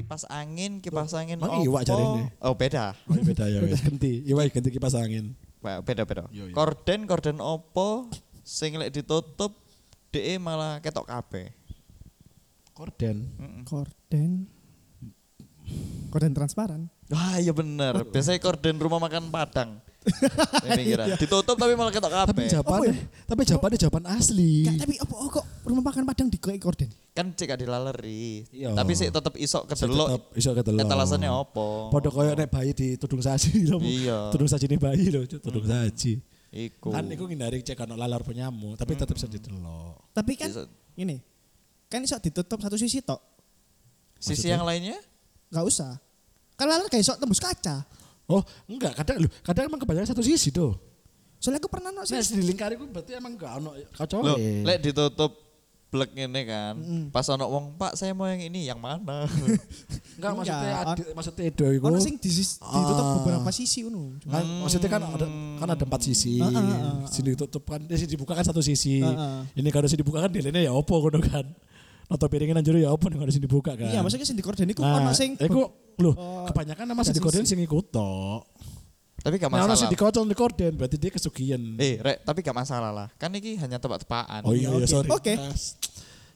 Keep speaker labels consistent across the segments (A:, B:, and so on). A: kipas angin, kipas angin
B: emang iya, iwak jarene?
A: Oh, beda.
B: Oh, iya beda ya wis ganti. Iya wis ganti kipas angin.
A: Ba- Beda-beda.
B: Yo, yo.
A: Korden, korden opo sing lek ditutup DE malah ketok kabeh.
B: Korden.
A: Mm-mm.
C: Korden. Korden transparan.
A: Wah, iya bener. Biasanya korden rumah makan Padang. Ini kira. Ditutup tapi malah ketok
B: Iya. Tapi
A: kabeh.
B: jawaban,
C: Apa ya?
B: tapi jawabannya jawaban asli.
C: Nggak, Ya, tapi apa oh, kok rumah makan Padang digoreng korden?
A: Kan cek gak dilaleri.
B: Iya.
A: Tapi sih tetep isok
B: Saya tetep
A: kedelok.
B: iso kedelok.
A: Etalasannya opo?
B: Podo koyo nek bayi di tudung saji lho.
A: Iya.
B: Tudung saji nih bayi lho, tudung saji.
A: Iku.
B: Kan iku ngindari cek ono lalar penyamu, tapi tetep iso didelok.
C: Tapi kan
A: Bisa.
C: ini kan iso ditutup satu sisi tok.
A: Sisi
B: Maksudnya?
A: yang lainnya?
C: Enggak usah. Kan laler gak iso tembus kaca.
B: Oh, enggak, kadang lho, kadang emang kebanyakan satu sisi tuh.
C: Soalnya aku pernah no sih.
B: Nek di lingkar iku berarti emang enggak ono kacau.
A: Loh, lek ditutup blek ngene kan. Pas ono wong, "Pak, saya mau yang ini, yang mana?"
B: Enggak maksudnya
C: Enggak,
B: adi- maksudnya edo iku.
C: Ono sing disis- ditutup
B: Ah.
C: beberapa sisi ngono.
B: Kan, maksudnya kan ada kan ada empat sisi.
C: Ah, ah, ah, ah.
B: Sini tutup kan, eh, sini dibuka kan satu sisi.
C: Ah, ah.
B: Ini kalau sini dibuka kan delene ya opo ngono kan. Noto piringin anjur ya opo nih kalau sini dibuka kan.
C: Iya, maksudnya sing di korden iku
B: Nah,
C: ono sing
B: iku lho,
C: Oh,
B: kebanyakan nama sing
C: sisi.
B: dikorden sing iku tok.
A: tapi gak
B: Nah, ono
A: masalah.
B: sing dikocon dikorden berarti dia kesugihan.
A: eh, rek, tapi gak masalah lah. Kan ini hanya tebak-tebakan.
B: Oh iya,
C: Oke.
B: iya sorry.
C: Oke.
B: Ah,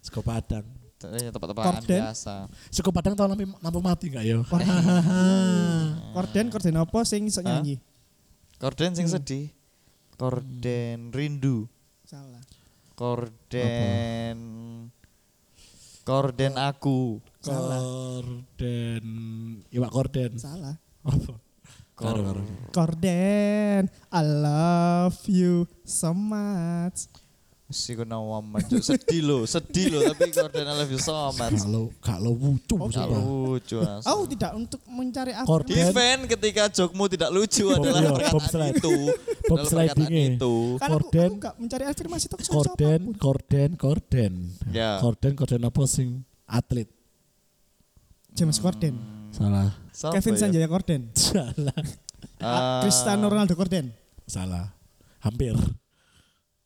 B: Sego Padang.
A: Hanya tebak-tebakan
C: Korden.
A: biasa.
B: Sego Padang tau lampu, lampu mati enggak ya?
C: korden korden apa sing iso
B: Nah.
A: Hah?
C: nyanyi?
A: Korden sing
B: Hmm.
A: sedih. Korden rindu.
C: Salah.
A: Korden Korden aku.
C: Salah.
B: Korden. Iwak korden.
C: Salah.
B: Apa? Karo, karo.
C: Korden, I love you so much.
A: Si kena woman. Cuk, Sedih lo, sedih lo tapi Korden I love you so much.
B: Kalau kalau lucu
A: Gak
B: sumpah.
A: lucu. asli.
C: Oh, tidak untuk mencari aku.
B: Korden.
A: Event ketika jokmu tidak lucu
B: Bob-
A: adalah
B: iya, Bob
A: perkataan
B: slide.
A: itu.
B: Bob
A: Adalah
B: sliding-nya.
A: perkataan itu.
C: Kan aku-
B: Korden.
C: aku nggak mencari afirmasi tok sama
B: Korden,
C: siapapun.
B: korden, korden.
A: Ya.
B: Korden, korden apa sing atlet?
C: James Korden.
B: Salah.
A: Siapa
C: Kevin
A: Hmm. ya?
C: Sanjaya Korden.
B: Salah.
A: Ah,
C: Cristiano Ronaldo Korden.
B: Salah. Hampir.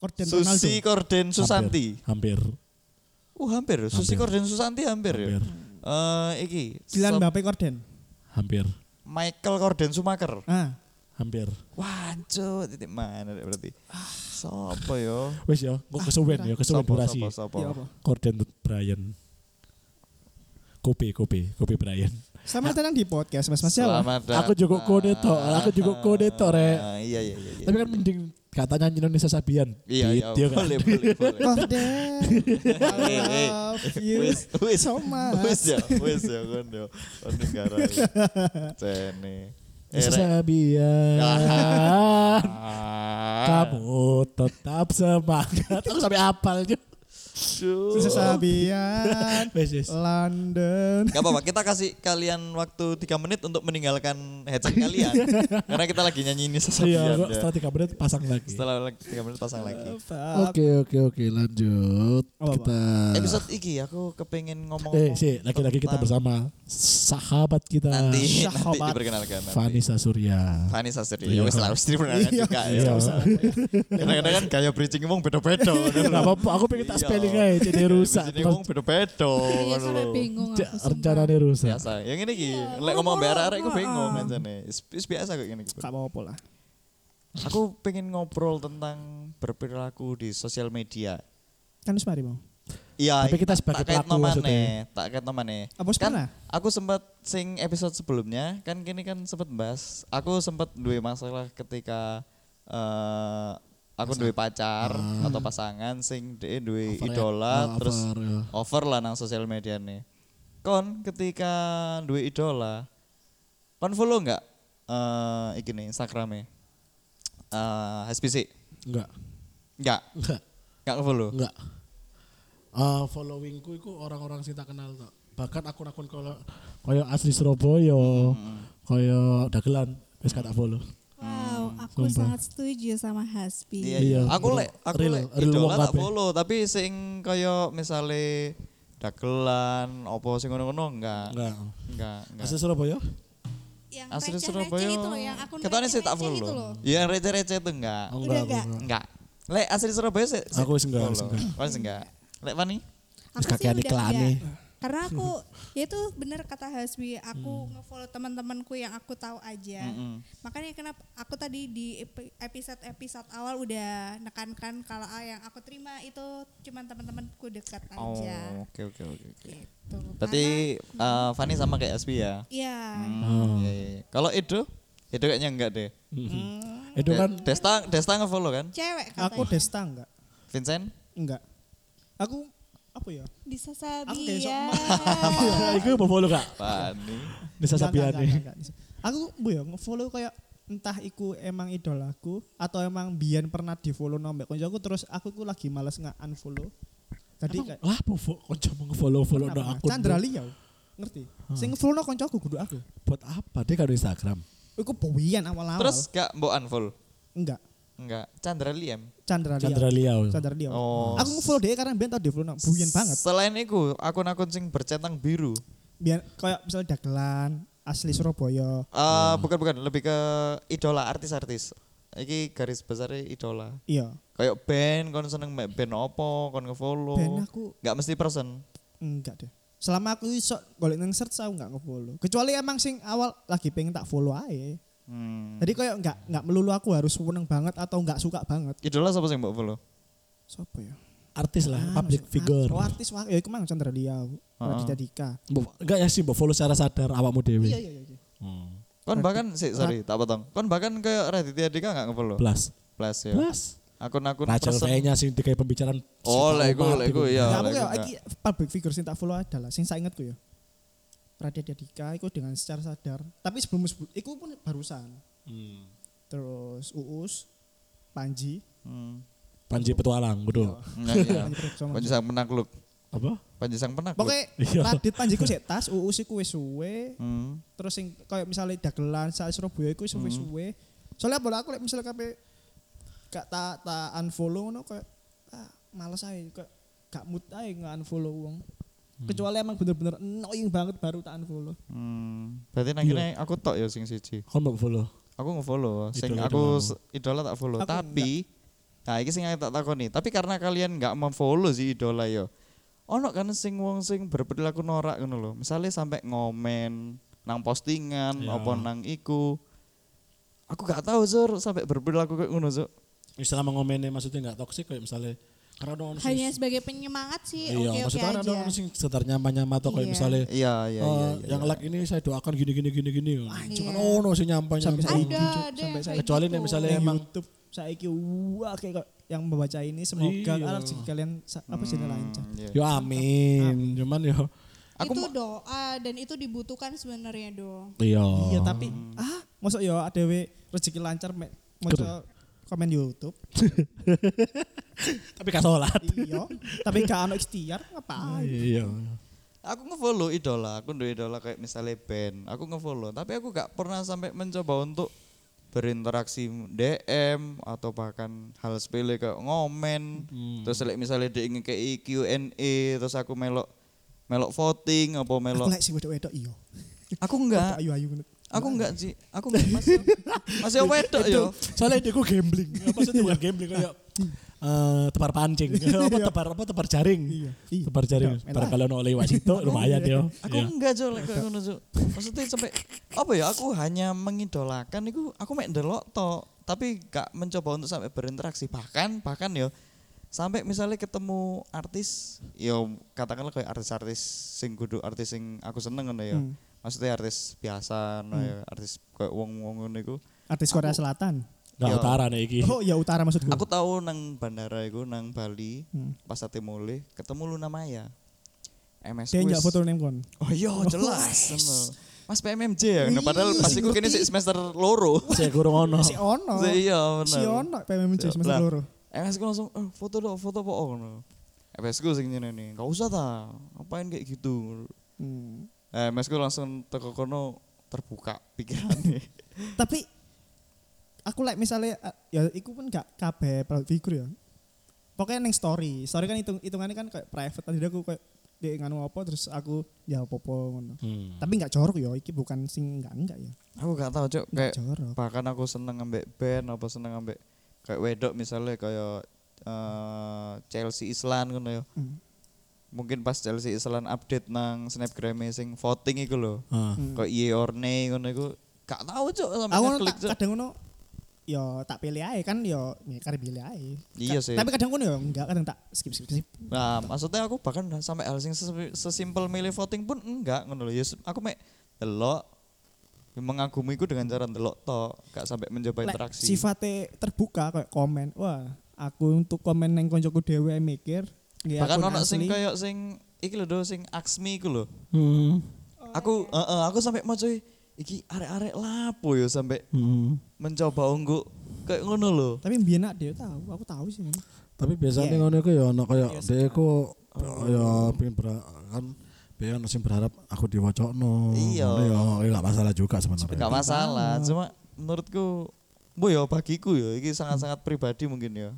C: Korden Ronaldo.
A: Susi Korden Susanti.
B: Hampir.
A: Oh hampir. Susi
B: Hampir.
A: Korden Susanti hampir ya.
B: Hampir.
A: Eh iki. Sep-
C: Kylian Mbappe Korden.
B: Hampir.
A: Michael Korden Sumaker.
C: Ah,
B: Hampir.
A: Wah, cuk, titik mana dek berarti? Sopo yo?
B: Wes ya, kok kesuwen ya, kesuwen
A: Sopo,
B: durasi.
A: sopo, sopo.
C: iya apa?
B: Korden Brian. Kopi, kopi, kopi Brian.
C: Selamat datang di podcast Mas Mas Jawa.
A: Selamat
B: Aku juga kode tok, aku juga kode tok, Rek.
A: Ah, Iya, iya, iya. iya.
B: Tapi kan mending katanya Indonesia Sabian.
A: Iya, iya,
B: Gitu kan.
A: boleh, boleh, boleh.
C: Korden. I
A: Eh, eh.
C: love you
A: Wis, wis.
C: so
A: Wis
C: much.
A: ya, wis ya kon yo. Kon negara. Cene. Eh,
B: Indonesia
A: Rek.
B: Sabian.
A: Ah.
B: Kamu tetap semangat. Aku sampai apal aja.
A: Cuk.
C: Susi Sabian.
B: Wes, wes.
C: London.
A: Gak apa-apa, kita kasih kalian waktu 3 menit untuk meninggalkan headset kalian. Karena kita lagi nyanyi ini
B: Iya,
A: sesabian
B: kok Iya,
A: ya.
B: setelah tiga menit pasang lagi.
A: Setelah 3 menit pasang lagi.
B: Oke, oke, oke, lanjut.
C: Apa,
B: Kita
A: Episode iki aku kepengen ngomong
B: Eh, sih, lagi-lagi kita
A: tentang-
B: bersama sahabat kita
A: nanti nanti
C: Sahabat.
A: diperkenalkan nanti.
B: Vanessa Surya.
A: Fani Sastri ya
B: Iya.
A: wis lah wis diperkenalkan
C: Iya,
A: juga
B: Iya.
A: ya. Kadang-kadang kan gaya bridging wong beda-beda. gitu.
B: Gak apa-apa, aku pengen
A: Iya.
B: tak spelling aja jadi rusak.
A: Ini wong beda-beda.
D: Iya,
A: ngono
D: sampai
A: lho.
D: bingung Iya,
B: Ja-
D: aku
B: Rencananya rusak.
A: Biasa. Yang ini ki, lek ngomong mbek arek ku bingung kancane. Is- is biasa kok ngene iki.
C: Gak apa-apa lah.
A: Aku pengen ngobrol tentang berperilaku di sosial media.
C: Kan wis mari mau.
A: Iya,
B: Tapi kita
A: tak-
B: sebagai
A: tak kaitno
B: pelaku
A: maneh,
B: maksudnya.
A: tak kaitno maneh.
C: Apa wis
A: Kan-
C: pernah?
A: Aku sempat sing episode sebelumnya kan kini kan sempat bahas. Aku sempat duwe masalah ketika eh aku duwe pacar atau pasangan sing dhewe duwe
B: Ah. Over ya.
A: idola
B: Ah,
A: terus
B: over, ya.
A: over lah nang sosial media nih. Kon ketika duwe idola kon follow nggak eh iki nih Instagramnya? Eh HSBC?
B: Enggak,
A: Nggak,
B: enggak,
A: nggak follow.
B: enggak. Eh, followingku itu orang-orang sing tak kenal tok. Bahkan akun-akun kalau koyo asli Surabaya, koyo dagelan wis gak tak follow.
D: Wow, aku
B: Sumpah.
D: sangat setuju sama Hasbi.
A: Iya,
B: Iya,
A: iya. Aku
B: real-
A: lek aku
B: real-
A: lek
B: real
A: idola
B: wong
A: tak
B: kabeh.
A: follow, tapi sing kaya misale dagelan apa sing ngono-ngono enggak.
B: Enggak.
A: Enggak, enggak.
B: Asli Surabaya?
D: Yang
A: Asli
D: receh-receh
A: Surabaya.
D: itu gitu loh, ya, yang akun
A: Ketone sih tak
D: receh-receh itu
A: follow.
D: gitu loh.
A: Iya, yang receh-receh itu enggak.
B: Oh,
D: Udah enggak?
A: Enggak. Lek asli Surabaya sih. sih
B: Aku wis enggak, wis
A: follow.
B: enggak.
A: Wis enggak. Lek Fani?
D: Aku
B: Terus kakean
D: sih udah
B: iklane.
D: enggak. karena aku ya itu bener kata Hasbi
A: Hmm.
D: aku ngefollow teman-temanku yang aku tahu aja
A: Mm-mm.
D: makanya kenapa aku tadi di episode episode awal udah nekankan kalau ah, yang aku terima itu cuman teman-temanku dekat
A: Oh,
D: aja
A: oke oke oke. oke.
D: gitu
A: Berarti eh, Fanny sama kayak SB ya?
D: Karena- iya
A: Hmm, iya, iya, iya. Kalau Edo, Edo kayaknya enggak deh.
B: Itu
A: De-
B: kan
A: Desta Desta ngefollow kan?
D: cewek katanya
C: Aku Desta enggak?
A: Vincent?
C: Enggak. Aku apa ya?
D: bisa
C: Aku kayak sok- Iya,
D: sabia
B: Iku mau follow kak
A: Fanny.
B: Desa
C: Enggak, enggak,
B: Sabiani.
C: enggak, enggak, enggak. Aku bu ya ngefollow kayak entah iku emang idol aku atau emang Bian pernah di follow nombek konco aku terus aku ku lagi males nge unfollow. Tadi kayak
B: Lah mau fo- konco mau follow follow no
C: Pernah,
B: akun.
C: Chandra Liau. Ngerti? Sing follow no konco aku kudu aku.
B: Buat apa? Dia kan ada Instagram.
C: Iku Bowian awal-awal.
A: Terus gak mbok unfollow?
C: enggak.
A: Enggak. Chandra Liam.
C: Chandra Liau.
B: Chandra Liao.
C: Chandra Liau.
A: Oh.
C: Aku ngefollow dia karena Bian tau di follow no. Bowian banget.
A: Selain itu, akun-akun sing bercetang biru.
C: Bian kayak misalnya Dagelan, asli
A: Eh
C: Surabaya. Hmm.
A: bukan bukan, lebih ke idola artis-artis. Iki garis besarnya idola.
C: Iya.
A: Kayak band, kon seneng mek band opo, kon ngefollow.
C: Band aku-
A: Gak mesti person.
C: Enggak deh. Selama aku iso golek nang search aku enggak ngefollow. Kecuali emang sing awal lagi pengen tak follow aja.
A: Hmm.
C: Jadi kayak enggak enggak melulu aku harus seneng banget atau enggak suka banget.
A: Idola siapa sih mbok follow?
C: Sopo ya?
B: Artis lah, public
C: Ah,
B: figure. Ah.
C: Oh, artis wah, ya iku mang Chandra Liau, Raditya Dika.
B: Mbok- Enggak ya sih, mbok follow secara sadar awakmu dewi.
C: Iya iya iya. iya.
B: Hmm.
A: Kon bahkan sih, sorry, tak potong. Kon bahkan kayak Raditya Dika gak
C: iya.
A: ngefollow?
B: Plus,
A: Plus ya.
B: plus.
A: Akun-akun
B: Rachel
A: person.
B: V-nya Nah, sih tiga pembicaraan.
A: Oh, lah iku, lah iku,
B: Ya,
A: iya.
C: Nah, aku
A: lah
C: kayak
A: iku
C: iki public figure sing tak follow adalah sing saya ingetku ya. Raditya Dika iku dengan secara sadar. Tapi sebelum sebelum iku pun barusan. Terus Uus, Panji,
A: Hmm.
B: Panji Petualang, gitu.
A: Nah, iya.
C: Panji Pragiwaksono.
A: Panji sang penakluk.
B: Apa?
A: Panji sang penakluk.
C: Pokoknya
B: Iya.
C: Radit Panji ku sik tas, Uus iku wis suwe,
A: Hmm.
C: terus sing kayak misalnya dagelan saat Surabaya iku
B: Hmm.
C: suwe suwe. Soalnya bola aku like, misalnya kape gak tak tak unfollow no kayak ah, males aja kayak gak mood aja nggak unfollow uang.
B: Hmm.
C: Kecuali emang bener-bener annoying banget baru tak unfollow.
A: Hmm. Berarti nang kene aku tok ya sing siji.
B: Kon mbok follow.
A: Aku ngefollow, sing
B: Idola
A: aku
B: doang.
A: se- idola tak follow,
C: Aku
A: tapi nah iki sing aku tak takoni. Tapi karena kalian nggak memfollow si idola yo. Ono kan sing wong sing berperilaku norak ngono lho. Misalnya sampai ngomen nang postingan
B: Iya.
A: apa nang iku. Aku gak tahu Zur sampai berperilaku kayak ngono Zur.
B: Misalnya mengomennya maksudnya nggak toksik kayak misalnya karena ada orang sing-
D: hanya sebagai penyemangat sih
B: Iya,
D: oke oke
B: maksudnya kan ada orang
D: aja
B: sing sekitar nyampa-nyampa atau kayak
D: Iya.
B: misalnya
A: Iya iya
B: "Eh,
A: iya. iya.
B: yang like ini saya doakan gini gini gini gini. Cuman oh,
D: iya.
B: ono sih nyampa nyampa.
C: Sampai saya- Sampai
D: ada ada yang
C: saya-
D: kayak
B: Kecuali
D: gitu.
B: nek misalnya
C: Neng
B: emang
C: YouTube saiki wah kayak kok yang membaca ini semoga
B: Iya.
C: alat kalian sa- apa sih lancar.
A: Iya.
B: yo Ya, amin. Cuman ya. yo
A: Aku
D: itu
A: mau-
D: doa dan itu dibutuhkan sebenarnya do
B: iya.
C: Iya tapi ah masuk ya adewe rezeki lancar me, maca komen YouTube.
B: Tapi gak sholat.
C: iya tapi gak ana ikhtiar ngapain
B: Iya.
A: Aku ngefollow idola, aku nduwe idola kayak misalnya band, aku ngefollow, tapi aku gak pernah sampai mencoba untuk berinteraksi DM atau bahkan hal sepele kayak ngomen. Terus like misalnya dia ingin kayak Q&A, terus aku melok melok voting apa
C: aku
A: melok.
C: lek si wedok-wedok iya
A: Aku enggak,
C: ayu-ayu ngono.
A: aku enggak sih, aku enggak masih masih wedok ya. yo.
B: Soalnya dia gue gambling. Apa sih bukan gambling kayak eh, tebar pancing, apa tebar apa tebar jaring,
C: Iya. Iya.
B: tebar jaring.
C: Iya.
B: Barangkali oleh wasito lumayan ya. Iya. yo.
A: Aku enggak Jo, lek kayak ngono Jo. Maksudnya sampai apa ya aku hanya mengidolakan itu aku mek ndelok tok, tapi gak mencoba untuk sampai berinteraksi bahkan bahkan yo sampai misalnya ketemu artis yo katakanlah kayak artis-artis sing kudu artis sing aku seneng ngono ya. Maksudnya artis biasa no ya, artis kayak wong-wong ngono iku.
C: artis Korea Selatan
B: Gak
A: Iya.
B: utara nih iki.
C: oh ya utara maksud gue
A: Aku tahu nang bandara iku nang Bali
C: Hmm.
A: pas ate mulih ketemu Luna Maya. MS
C: dia
A: Quiz.
C: njak foto neng kon
A: Oh iya jelas. Ngono. Mas PMMJ ya, ngono. padahal
C: Wih,
A: pas iku kene sik semester loro.
B: Saya kurang ono.
C: si ono
A: Sik, iya
C: si
A: bener.
C: ono PMMJ semester
A: Lah.
C: loro
A: MS ku langsung eh, foto dong, foto apa ngono. MS ku sing ngene nih, enggak usah ta. Ngapain kayak gitu.
C: Hmm.
A: Eh, MS ku langsung teko kono terbuka pikirannya.
C: tapi aku like misalnya ah, ya iku pun gak kabeh public figure ya pokoknya neng story story kan hitung hitungannya kan kayak private tadi aku kayak dia nganu apa terus aku ya popo ngono
B: Hmm.
C: tapi nggak jorok ya iki bukan sing enggak enggak ya
A: aku gak tahu cok kayak
C: jorok
A: bahkan aku seneng ambek band apa seneng ambek kayak wedok misalnya kayak eh, Chelsea Islan ngono ya.
C: Hmm.
A: mungkin pas Chelsea Islan update nang Snapgram sing voting iku lho.
B: Ah.
C: Hmm.
A: Kok yay or nay ngono iku gak tau cuk sampe
C: Aku ngono
A: ngeklik
C: tak-
A: cuk.
C: kadang ngono ya tak pilih aja kan ya ya karep pilih aja.
A: Iya
C: Ka-
A: sih.
C: Tapi kadang ngono ya enggak kadang tak skip skip skip.
A: Nah, maksudnya aku bahkan sampai hal sing sesi- sesimpel milih voting pun enggak ngono lho. Ya se- aku mek delok mengagumiku dengan cara delok tok, gak sampai mencoba
C: Lek
A: interaksi.
C: Sifatnya terbuka kayak komen. Wah, aku untuk komen neng koncoku dhewe mikir. nggih
A: bahkan
C: akun
A: ono sing
C: asli.
A: kayak sing iki lho Do, sing Aksmi iku lho.
B: Hmm.
A: Aku eh, eh, aku sampai mau cuy iki arek-arek lapo ya sampai
B: Hmm.
A: mencoba ungguk kayak ngono lho.
C: Tapi biyen nak dia tahu, aku tahu sih. ngono.
B: Tapi biasanya
C: Iya.
B: ngono iku ya ono kaya dhek iku ya pengin ber- kan dia ono sing berharap aku diwocokno.
A: Iya.
B: Ngono Ya ya gak masalah juga
A: Gak
B: sebenarnya.
A: masalah, cuma menurutku bu ya bagiku ya iki sangat-sangat pribadi mungkin ya.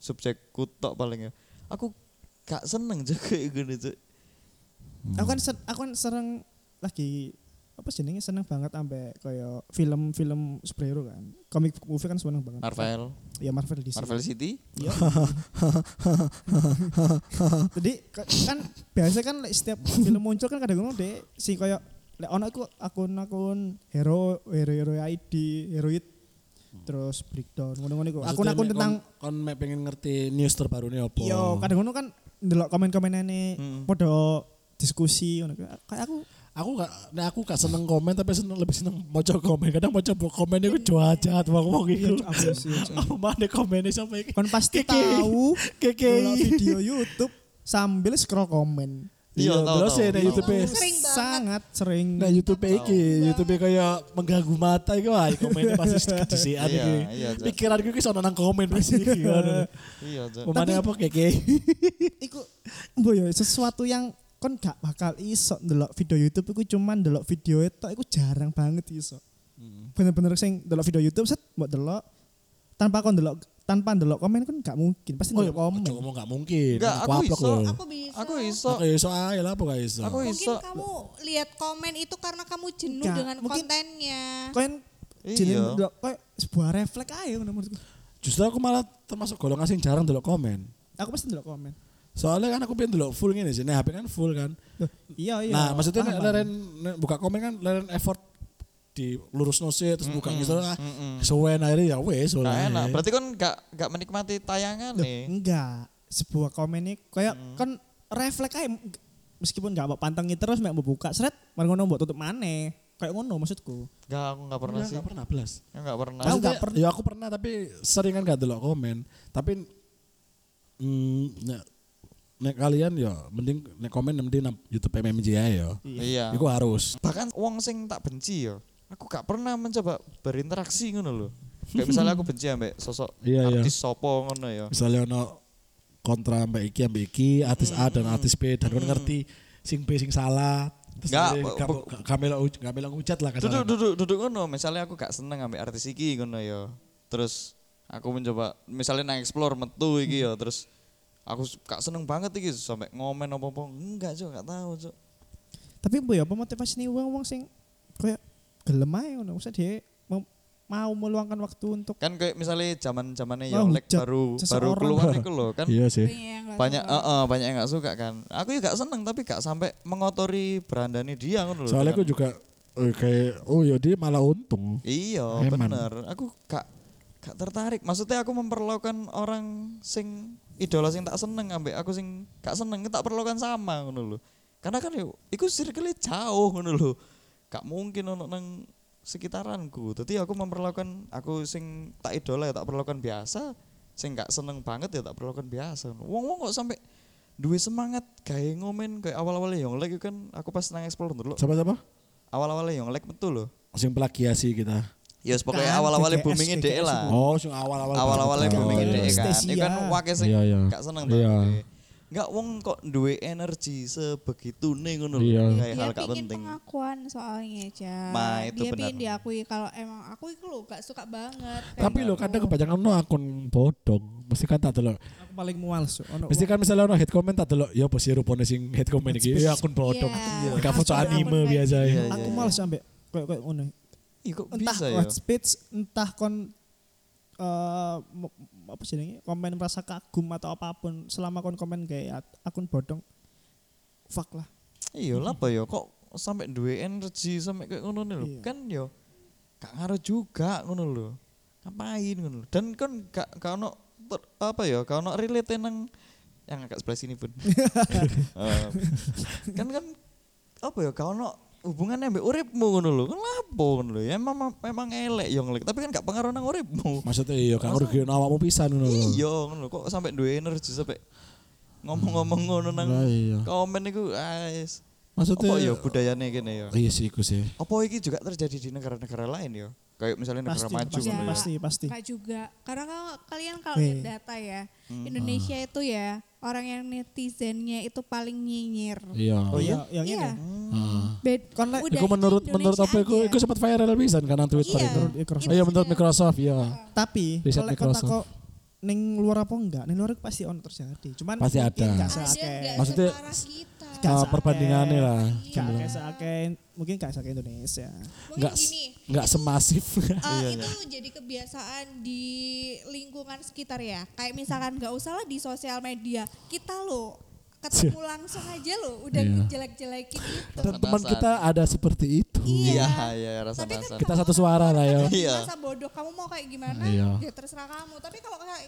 A: Subjek kutok paling ya. Aku gak seneng juga gini cuk.
C: Aku kan ser- aku kan sering lagi apa jenenge seneng banget ambek kayak film-film superhero kan. Comic book movie kan seneng banget.
A: Marvel,
C: Ya Marvel DC.
A: Marvel City.
C: Iya. Jadi ka- kan biasa kan like, setiap film muncul kan kadang-kadang deh si koyo lek ono aku akun-akun hero hero hero ID heroid terus breakdown ngono-ngono iku. Akun-akun tentang
B: kon Oh. mek pengen ngerti news terbarune opo.
C: yo kadang-kadang kan ndelok komen-komenane
A: Mm.
C: podo diskusi ngono kayak kayak aku
B: Aku gak, nek aku gak seneng komen tapi seneng lebih seneng moco komen. Kadang moco komen iku jahat wong-wong iku.
C: aku sih
B: Apa mana komennya sampai iki?
C: kon pasti
B: Kiki.
C: tahu ndelok
B: Keke.
C: video YouTube sambil scroll komen.
A: Iya, tahu,
B: terus
A: tahu.
B: ya nek
C: Oh,
A: Tahu.
B: YouTube
D: Sering banget.
C: sangat sering.
B: Nah YouTube
A: oh,
B: iki, YouTube kaya mengganggu mata iki wah komennya pasti
A: Iya,
B: kedisian iki.
A: iya, Cak.
B: Pikiranku iki sono nang komen pasti iki. ngono.
A: Iya, Cuk.
B: Pemane apa keke?
C: iku mbo ya sesuatu yang kon gak bakal iso ndelok video YouTube iku cuman ndelok video itu iku jarang banget iso.
B: Hmm.
C: Bener-bener sing ndelok video YouTube set mbok delok tanpa kon ndelok tanpa ndelok komen kon gak mungkin pasti ndelok
B: Oh,
C: komen.
B: iya, ojo ngomong gak mungkin.
A: Enggak, aku
B: Kuaplok
A: iso,
B: lho.
D: Aku bisa.
A: Aku iso.
B: Aku ya iso ae lah apa gak iso.
A: Aku
D: Mungkin
A: iso.
D: kamu lihat komen itu karena kamu jenuh
C: Enggak,
D: dengan
C: mungkin-
D: kontennya.
C: Kon
A: Iya.
C: jeneng ndelok koyo sebuah refleks ae ngono menurutku.
B: Justru aku malah termasuk golongan sing jarang delok komen.
C: Aku pasti ndelok komen.
B: Soalnya kan aku pengen delok full ngene sih. Nah, HP kan full kan.
C: Loh, iya iya.
B: Nah, maksudnya
C: paham,
B: nek leren nek buka komen kan leren effort di lurus nosir terus buka gitu lah. Suwen akhirnya ya wes.
A: Gak
B: oleh.
A: enak. Berarti kan gak gak menikmati tayangan
C: paham. Loh,
A: nih. Hmm.
C: enggak. Sebuah komen ini koyo kon refleks ae meskipun gak mbok pantengi terus mek mbok buka seret mari ngono mbok tutup maneh. Kayak ngono maksudku.
A: Gak aku gak pernah
B: Enggak,
A: sih.
B: enggak Iya, pernah belas.
A: Gak pernah.
C: Aku
B: Maksudnya,
C: nggak pernah.
B: Ya aku pernah tapi seringan gak delok komen. Tapi mm, nek, nek kalian ya mending nek komen mending nang YouTube MMJ ae ya.
A: Iya.
B: Iku harus.
A: bahkan wong sing tak benci ya aku gak pernah mencoba berinteraksi ngono lho kayak misalnya aku benci ambek sosok
B: Iya, iya.
A: artis sopo ngono ya
B: Misalnya ono kontra mbak iki mbak iki artis A dan artis B dan kan ngerti sing B sing salah. Terus
A: Nggak,
B: nanti kamu kami lo kami lo hujat lah
A: duduk
B: kasarnya.
A: duduk duduk ngono misalnya aku gak seneng ambek artis iki ngono ya terus aku mencoba misalnya nang explore metu iki ya terus aku s- gak seneng banget iki sampai ngomen apa-apa enggak cuk gak tahu cuk
C: Tapi bu ya, apa motivasi nih uang uang sing kayak gelem aja ngono. Maksudnya dia mau, mau meluangkan waktu untuk
A: kan kayak misalnya zaman zamannya
C: Wah,
A: ya lek
C: hujat
A: baru baru
C: seseorang.
A: keluar iku lho kan
B: Iya sih.
D: Iya, enggak
A: banyak
D: tahu.
A: eh, eh, banyak yang gak suka kan aku juga gak seneng tapi gak sampai mengotori berandani dia ngono lho kan.
B: Soalnya
A: dengan-
B: aku juga eh, kayak oh ya dia malah untung.
A: Iya,
B: Eman.
A: bener. Aku gak gak tertarik. Maksudnya aku memperlakukan orang sing idola sing tak seneng ambek aku sing gak seneng tak perlakukan sama ngono lho. Karena kan yo iku circle jauh ngono lho. Gak mungkin ono nang sekitaranku. Dadi aku memperlakukan aku sing tak idola ya tak perlakukan biasa, sing gak seneng banget ya tak perlakukan biasa. Wong-wong kok sampai duwe semangat gawe ngomen kayak awal-awalnya yang like kan aku pas nang explore dulu
B: Siapa-siapa?
A: awal-awalnya yang like betul loh
B: Sing plagiasi kita.
A: ya yes, pokoknya
C: Kan,
A: awal-awalnya
C: DDS,
A: boomingnya DE
C: DDS
A: lah
B: Oh, sing awal-awal.
A: Ah. awal-awalnya
B: Oh,
A: booming
B: iya.
A: DE kan
C: Anastasia.
A: ini kan wakil sing
B: Iya, iya.
A: gak seneng tau
B: Iya.
A: DE. nggak wong kok duwe energi sebegitu nih ngono lho
B: Iya.
A: kayak
D: dia
A: hal gak
D: pingin
A: penting
D: pengakuan soalnya aja.
A: Nah, itu
D: dia
A: benar.
D: pingin diakui kalau emang aku itu lo gak suka banget. kayak
B: Tapi lo
D: gitu.
B: kadang kebanyakan no akun bodong. Mesti kan tak delok.
C: aku paling mual so. Ono
B: Mesti kan misalnya ono head comment tak delok, ya apa sih rupane sing head comment iki? Ya akun bodong.
D: Iya.
B: Gak foto
D: Akun-
B: anime
D: akun
B: biasa
A: kayak
B: ya.
A: gitu.
C: aku
A: Iya,
C: mual
A: iya.
C: sampai kayak kayak ngono.
A: Ih, kok
C: Entah
A: bisa ya
C: hate speech, entah kon eh mo- apa sih ini komen merasa kagum atau apapun selama kon komen kayak akun bodong fuck lah
A: Iya lah apa ya kok sampai duwe energi sampai kayak ngono nih lho.
C: Iya.
A: Kan yo gak ngaruh juga ngono lho. Ngapain ngono lho. Dan kan gak gak ono ter- apa ya gak ono relate nang yang agak sebelah sini pun. Eh, kan kan apa ya gak ono hubungannya ambek uripmu ngono lho. Kan lapo ngono lho. Ya memang memang elek yo ngelik, tapi kan gak pengaruh nang uripmu.
B: Maksudnya iya gak ngerugiin awakmu pisan ngono lho.
A: Iya ngono lho. kok sampai duwe energi sampai ngomong-ngomong ngono nang
B: Lah iya.
A: komen ah, iku ais.
B: Maksudnya
A: Apa ya budayane kene ya?
B: Iya sih iku sih.
A: Apa iki juga terjadi di negara-negara lain ya? Kayak misalnya negara
C: Pasti,
A: maju
C: pasti,
A: ngono ya.
C: pasti, pasti.
D: Nggak juga. Karena kalau kalian kalau lihat
C: Eh.
D: data ya,
A: Hmm.
D: Indonesia itu ya orang yang netizennya itu paling nyinyir.
B: Iya.
A: Oh iya?
C: yang ini
D: Iya.
B: Heeh.
D: Bed,
C: Kan lek-
D: udah
B: Iku
D: ini
B: menurut
D: Indonesia
B: menurut apa iku
D: aja.
B: iku sempat viral pisan kan nang Twitter
D: Iya.
B: itu.
C: Microsoft.
B: Oh iya menurut Microsoft ya.
C: tapi
B: Riset
C: kalau kota
B: Microsoft.
C: kok neng luar apa enggak neng luar pasti ono terjadi cuman
B: Pasti
C: mungkin
B: ada.
C: nggak
D: ada
C: seake
D: nggak
B: Maksudnya-
D: separah kita.
C: Gak
B: Ah,
C: seake.
B: perbandingannya lah.
C: nggak kayak seake mungkin nggak seake Indonesia
D: Mungkin
B: Enggak
D: gini.
B: enggak
D: itu,
B: semasif.
D: eh, itu jadi kebiasaan di lingkungan sekitar ya. Kayak misalkan nggak usah lah di sosial media. Kita loh ketemu langsung aja loh udah gitu.
B: Iya.
D: jelek-jelekin itu.
B: Dan teman kita ada seperti itu.
A: Iya, iya rasa-rasa.
D: kan
B: Kita satu suara lah ya.
A: Iya.
D: masa bodoh kamu mau kayak gimana
B: Iya.
D: ya terserah kamu tapi kalau kayak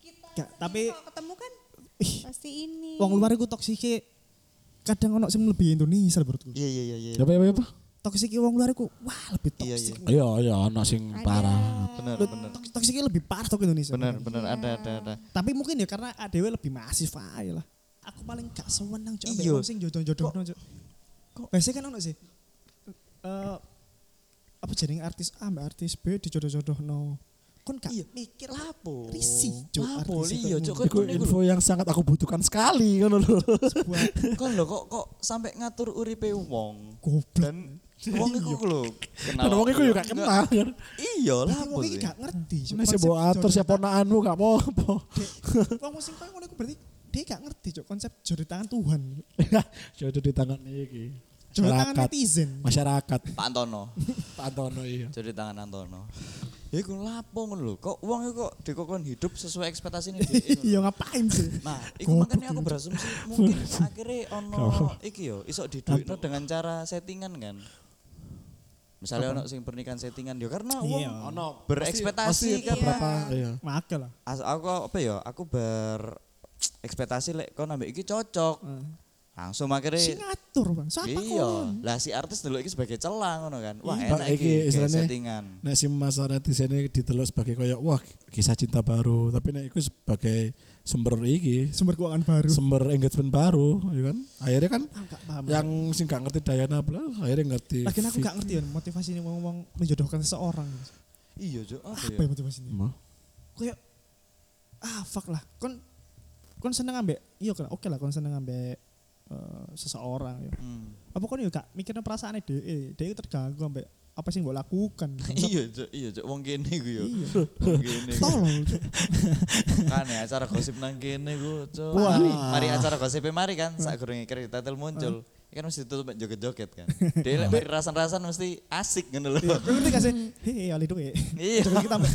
D: kita
C: Nggak,
D: sendiri
C: tapi-
D: kalau ketemu kan
C: ih
D: pasti ini
C: wong luar iku toksike kadang ono sing lebih Indonesia menurutku
A: Iya iya iya iya.
B: Apa apa apa?
C: toksike wong luar iku wah lebih
A: Iya,
C: toksik
B: Iya iya ono sing
D: Ada.
B: parah.
A: Benar
C: Lu-
A: benar.
C: toks- toksiknya e lebih parah tuh ke Indonesia.
A: Benar benar ada ada ada.
C: Tapi mungkin ya karena ADW lebih masif aja lah. Aku paling gak seneng cok.
A: Iya.
C: Iya. Sing jodoh-jodoh cok. Kok biasanya kan ono sih. Eh apa jenenge artis A mbak artis B dijodoh-jodoh no. Kon gak
A: Iya, mikir lapo.
C: Risih, Cuk,
A: Lapo
C: artis itu.
A: iya cuk kok
B: Iku info yang sangat aku butuhkan sekali ngono lho.
C: buat
A: kon lho kok kok sampai ngatur uripe wong.
C: goblok.
A: Dan wong iku lho kenal.
B: Dan wong iku juga
A: Enggak,
B: kenal kan.
A: Iya
C: Tapi
A: lapo
C: wong iki
A: sih.
C: gak ngerti. Cuk.
B: Cuma sih
C: Konsep
B: bawa atur
C: jodoh
B: siapa naanmu gak apa-apa.
C: tangan. Wong sing koyo ngono iku berarti dia gak ngerti cok konsep jodoh tangan Tuhan.
B: Jodoh Iya. di tangan iki.
C: Jodoh tangan
B: Masyarakat.
C: netizen.
B: Masyarakat.
A: Pak Antono.
B: Pak Antono iya.
A: Jadi tangan Antono. Ya iku lapo ngono lho. Kok wong iku kok dikokon hidup sesuai ekspektasine dhewe.
C: Iya ngapain sih?
A: Nah, itu makanya aku berasumsi mungkin akhirnya ono iki yo iso diduitno dengan cara settingan kan. Misalnya ono sing pernikahan settingan yo karena wong
C: Iya.
B: Ono
A: berekspektasi kan.
B: berapa iya.
C: Makel lah.
A: As- aku apa ya? Aku ber ekspektasi lek kon ambek iki cocok. Langsung
B: Eh.
C: Sing
A: akhirnya
C: ngatur bang. Siapa
A: iya.
C: kon?
A: Lah si artis dulu iki sebagai celah ngono kan. Wah,
B: Iya,
A: enak
B: iki
A: iki kayak
B: istilahnya-
A: settingan.
B: Nek si masa netizen ini ditelok sebagai kayak wah kisah cinta baru, tapi nek iku sebagai sumber iki,
C: sumber keuangan baru.
B: sumber engagement baru, ya kan? Akhirnya kan
C: Aku gak paham.
B: yang sing gak ngerti Dayana bla, akhirnya ngerti.
C: Lagian aku gak ngerti ya motivasinya ngomong menjodohkan seseorang. gitu.
A: Iya, Cuk. Apa
C: Apa
A: ya?
C: ya motivasinya?
B: Mau?
C: Kayak ah fuck lah. Kon kon seneng ambek iya kan oke lah kon seneng ambek eh, seseorang ya.
A: Hmm.
C: Apa kon yo gak mikirnya perasaannya dhek, dhek terganggu ambek apa sih yang mbok lakukan. gitu.
A: Iya, Cuk. Iya, Cuk. Wong kene iku yo.
C: Iya.
A: Wong kene. iku.
C: Tolol. Cuk.
A: kan ya acara gosip nang kene ku cuk
C: Wah.
A: mari, mari acara gosip mari kan sak gurunge kita tel muncul Ini kan mesti tutup joget-joget kan dia lek mari rasan-rasan mesti asik ngono lho
C: Lu Iya, ngerti gak sih? Hei, ali duwe.
A: Iya.
C: Coba kita ambek.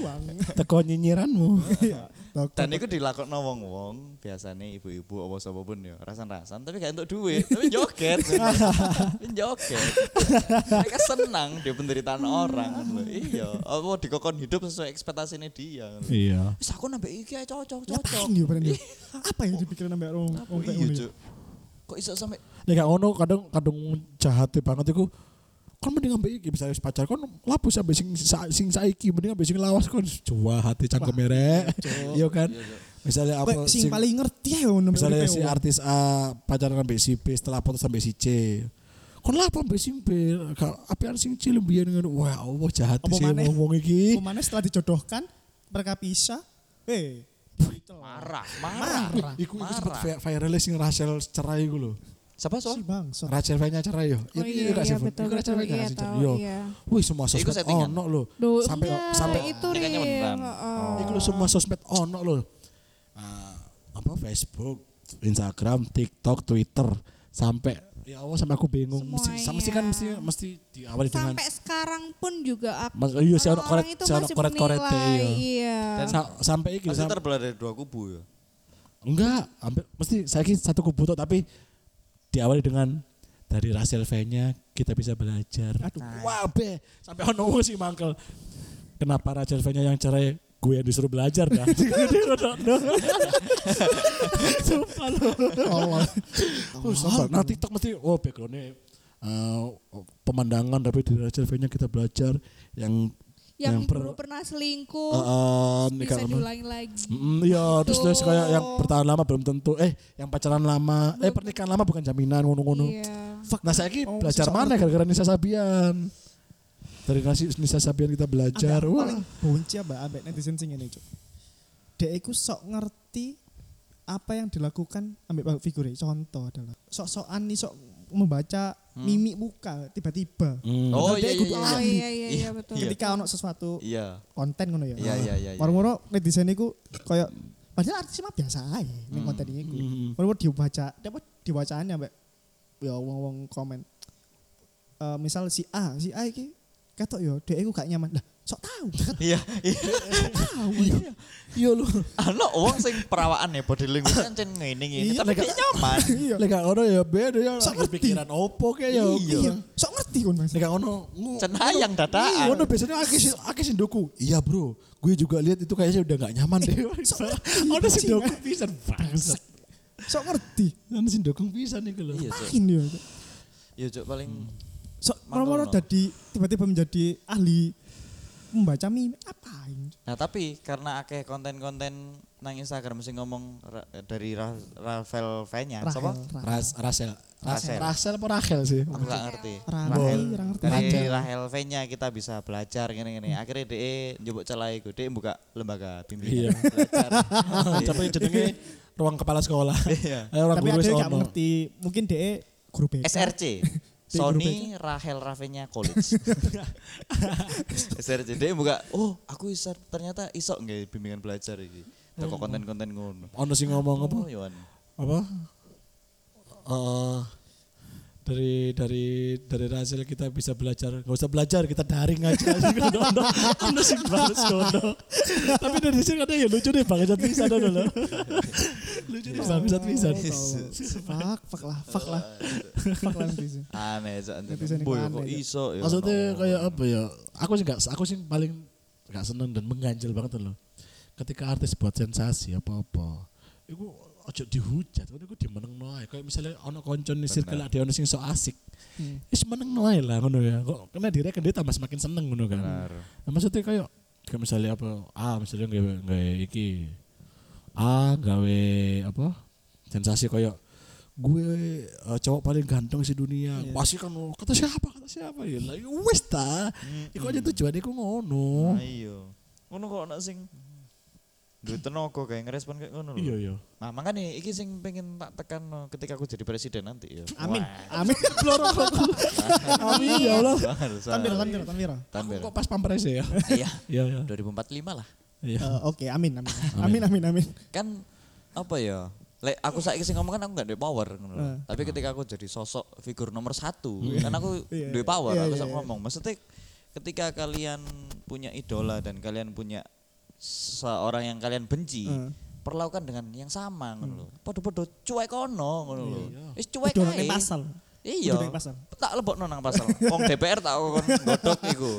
C: Uang.
B: Teko nyinyiranmu.
C: Iya. Tok,
A: dan
C: tok.
A: itu dilakokno wong-wong biasanya ibu-ibu apa sapa pun ya rasan-rasan tapi gak entuk duit tapi joget Tapi joget mereka senang di penderitaan orang lho iya apa dikokon hidup sesuai ekspektasine dia lho.
B: Iya.
A: wis aku nambah iki ae cocok cocok
C: Ngapain dia berani? Apa yang dipikirin ambek orang?
A: Apa
C: orang ya?
A: iya
C: ini?
A: cuk kok iso sampe
B: Nek gak ngono kadang kadang jahat banget iku. Kon mending ambek iki bisa wis pacar kon lapu sampe sing sa- sing saiki mending ambek sing lawas kon jahat hati cangkeme rek. Iya kan? Misalnya
C: Kayak
B: apa
C: sing paling ngerti ya ono
B: misalnya si artis A pacaran sampai si B setelah putus sampai si C kon lah apa sampai si B apa sing C lebih dengan wah Allah jahat
C: Apa
B: sih
C: maneh?
B: ngomong iki
C: Kemana setelah dijodohkan mereka pisah, eh
A: marah marah
C: marah.
B: Iku, iku
A: Marah.
B: sempat vi- viral sing Rachel cerai gue loh.
A: siapa
C: Si
A: soal
C: bangsa.
B: Rachel V-nya cerai yo.
D: Oh iya,
B: gak
D: iya,
B: Fon?
D: betul,
B: Iku Rachel
D: betul.
B: V-nya
D: Iya,
B: sing cerai.
D: tahu,
B: Yo.
D: iya.
B: Wih semua sosmed
A: settingan.
B: ono loh.
D: Duh, iya.
B: Sampai
D: enggak,
B: sampai
D: itu
A: Ini kayaknya
D: real.
A: beneran.
D: Heeh.
B: iku lho semua sosmed ono loh. Ah, apa Facebook, Instagram, TikTok, Twitter sampai ya Allah sampai aku bingung. Mesti,
D: Semuanya.
B: mesti kan mesti mesti diawali dengan
D: sampai sekarang pun juga aku
B: Mas, iya, si ono
D: orang-orang
B: koret-
D: itu
B: si ono
D: masih
B: koret-korete,
D: menilai,
B: iya.
D: iya.
B: Sa- sampai iki
A: Pasti
B: sam-
A: terbelah dari dua kubu ya.
B: Enggak, hampir mesti saya kira satu kubu tok, tapi diawali dengan dari Russell V-nya kita bisa belajar.
C: Aduh.
B: Wah, be, sampai ono wong sih mangkel. Kenapa Russell V-nya yang cerai gue yang disuruh belajar dah. Jadi rodok dong. Sumpah lo.
C: Allah.
B: Oh, sabar. Nah, TikTok mesti oh backgroundnya eh, pemandangan tapi dari Russell V-nya kita belajar yang
D: yang,
B: Yang per-
D: dulu pernah selingkuh
B: eh, nikah
D: bisa
B: sama-
D: diulangi lagi
B: Mm, iya, terus terus
D: Gitu.
B: kayak yang bertahan lama belum tentu. Eh, yang pacaran lama, eh pernikahan lama bukan jaminan ngono-ngono.
D: iya
B: Fuck, nah saya
C: Oh,
B: belajar
C: sisa-
B: mana gara-gara Nisa Sabian. Dari nasi Nisa Sabian kita belajar.
C: Ambek-
B: Wah.
C: paling Bonci mbak ambek netizen sing ngene, Cuk. Dek iku sok ngerti apa yang dilakukan ambek public figure. Contoh adalah sok-sokan nih sok membaca
A: Hmm.
C: mimik muka tiba-tiba.
B: Hmm.
A: Oh iya
C: Tapi aku
A: iya
C: tuh
A: iya.
D: oh iya iya iya
A: Iya.
D: betul
C: Ketika ono sesuatu
A: Iya.
C: konten ngono ya.
A: Iya, iya, iya, iya.
C: Moro-moro netizen iku koyo padahal artis mah biasa ae ning konten iku.
B: Hmm.
C: Moro-moro dibaca, apa dibacaannya mbak ya wong-wong komen. Eh, misal si A, si A iki ketok yo, dek iku gak nyaman. Lah, sok tahu.
A: Iya, iya.
B: Iya lu.
A: Ana wong sing perawakan ya body language kan cen ngene ngene
B: Iya,
A: tapi
B: nek-
A: dia nyaman.
C: Iya.
B: Lek gak ono ya beda ya.
C: Sok ngerti.
B: pikiran opo kayak ya.
C: Iya, sok ngerti kon Mas.
B: Lek gak ono ngu-
A: Cen ayang
B: Iya,
A: dadaan.
B: ono biasanya akeh sih- akeh sih doku. Iya, Bro. Gue juga lihat itu kayaknya udah gak nyaman deh.
C: Iya,
B: Ono sing doku pisan bangsat.
C: Sok ngerti.
B: Ono sing doku pisan iku lho.
A: Iya, Cuk.
C: Makin dia.
A: Iya, Cuk paling
C: Hmm. Sok
A: Mantul,
C: moro-moro
A: no.
C: jadi tiba-tiba menjadi ahli membaca mimik apain?
A: Nah, tapi karena akeh konten-konten nang Instagram sing ngomong ra- dari Ra- Rafael V-nya, siapa?
C: Rahel, Rahel.
B: Ras Rasel.
A: Rasel.
B: Rasel apa Rahel sih?
A: Aku gak ngerti.
C: Rahel, Rahel ngerti.
A: Dari
C: Rahel. Hmm.
A: Rahel V-nya kita bisa belajar ngene-ngene. Akhirnya DE njupuk celah iku, DE buka lembaga bimbingan
B: Iya.
A: belajar.
B: Tapi jenenge ruang kepala sekolah.
A: Iya.
B: Eh, Ruang
C: Iya. Tapi
B: guru
C: ada
B: wis
C: yang gak
B: ono.
C: ngerti. Mungkin dia guru E BK.
A: SRC. Sony Rahel Ravenya College. SRC dia buka, oh aku iso, ternyata iso nggak bimbingan belajar iki. Teko konten-konten ngono.
B: Ono sing Hmm. ngomong apa?
A: Oh, Yohan.
B: Apa? Eh, dari dari dari Rasel kita bisa belajar nggak usah belajar kita daring aja Ono, ono. Ono sing balas ono. tapi dari sini katanya ya lucu deh bangsat pisan ono
C: Iya.
B: lho. lucu deh bangsat pisan
C: Fak, fak lah, fak lah. Fak lah netizen.
A: Aneh so, aneh.
C: Netizen yang
A: Boy,
C: aneh,
A: kok
C: ya.
A: iso ya.
B: Maksudnya
A: ono.
B: kayak apa ya? Aku sih gak, aku sih paling gak seneng dan mengganjal banget loh. Ketika artis buat sensasi apa-apa, itu ojo dihujat, itu dimeneng noai. Kayak misalnya ono koncon di circle ada ono sing sok asik,
C: Hmm.
B: is meneng noai lah ngono ya. Kok kena dia kan dia tambah semakin seneng ngono kan.
A: Benar.
B: Nah, maksudnya kayak kayak misalnya apa? Ah misalnya gawe gawe iki, ah gawe apa? Sensasi kayak gue eh, cowok paling ganteng si dunia pasti kan oh, kata siapa kata siapa ya lah ya wes ta iku aja tujuannya iku
A: Nah,
B: ngono
A: Iya. Ngono kok ana sing duwe tenaga kayak ngerespon kayak ngono
B: iya
A: lho.
B: iya
A: Nah, makanya iki sing pengen tak tekan no, ketika aku jadi presiden nanti ya.
C: Amin.
A: Wah,
C: Amin.
B: amin ya Allah
A: bangsa.
C: Tanwira, Tanwira, Tanwira.
B: aku
A: Tampil.
B: kok pas pampres ya
A: Iya,
B: iya iya
A: 2045 lah.
B: iya
C: Eh, Oke, amin, amin. Amin, amin, amin.
A: kan apa ya Lek aku saiki sing ngomong kan aku gak duwe power ngono lho.
C: Eh.
A: Tapi ketika aku jadi sosok figur nomor satu, kan aku
C: Iya,
A: duwe power,
C: iya,
A: aku
C: iya,
A: sok
C: iya.
A: ngomong. Maksudnya ketika kalian punya idola dan kalian punya seorang yang kalian benci,
C: Eh.
A: perlakukan dengan yang sama ngono lho.
C: Hmm.
A: Podo-podo cuek kono ngono lho. Wis cuek
C: Udah
A: ae.
C: nih pasal.
A: Iya.
C: Udah ning pasal.
A: Tak lebokno nang pasal. Wong DPR tak kon godhok iku.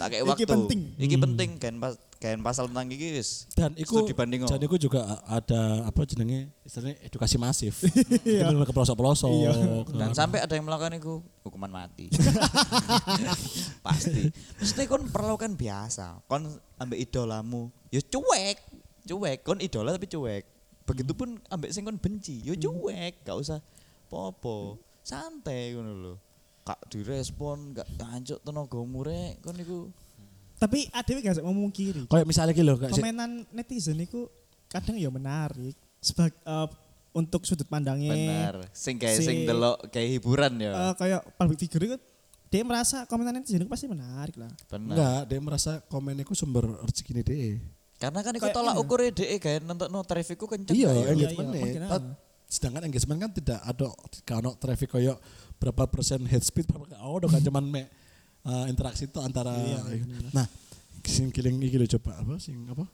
A: Tak kei
C: Iki
A: waktu.
C: penting. Hmm.
A: Iki penting gen pas gen pasal tentang iki wis.
B: dan iku
A: Studi banding, oh.
B: dan iku juga a- ada apa jenenge istilahnya edukasi masif iya. ke Nah, pelosok pelosok
C: Iya.
A: Dan sampai ada yang melakukan itu hukuman mati. Pasti. Mesti kon perlakukan biasa. Kon ambek idolamu, ya cuek, cuek. Kon idola tapi cuek. Begitupun ambek sing kon benci, ya cuek. Gak usah popo. Santai ngono lho. Kak direspon, gak anjuk tenagamu rek. Kon iku
C: Tapi ada yang gak ngomong kiri.
B: kayak misalnya gitu loh kayak si-
C: komenan netizen itu kadang ya menarik sebagai untuk sudut pandangnya
A: bener. Sing kayak
C: Eh, Si-
A: sing delok kayak hiburan ya.
C: Eh, kayak public figure itu dia merasa komenan netizen itu pasti menarik lah
A: Bener.
B: Nah. enggak dia merasa komen iku sumber rezeki deh
A: Karena kan iku
C: Kayak
A: tolak
C: ini.
A: ukurnya dhek gawe nentokno trafikku kenceng.
B: iya
A: gak ya?
B: engagement
C: iya, makin
B: nih sedangkan engagement kan tidak ada kano traffic koyo berapa persen head speed berapa gak ada kan cuman me eh,
A: Iya,
B: interaksi itu antara nah sing kiling iki lho coba apa sing apa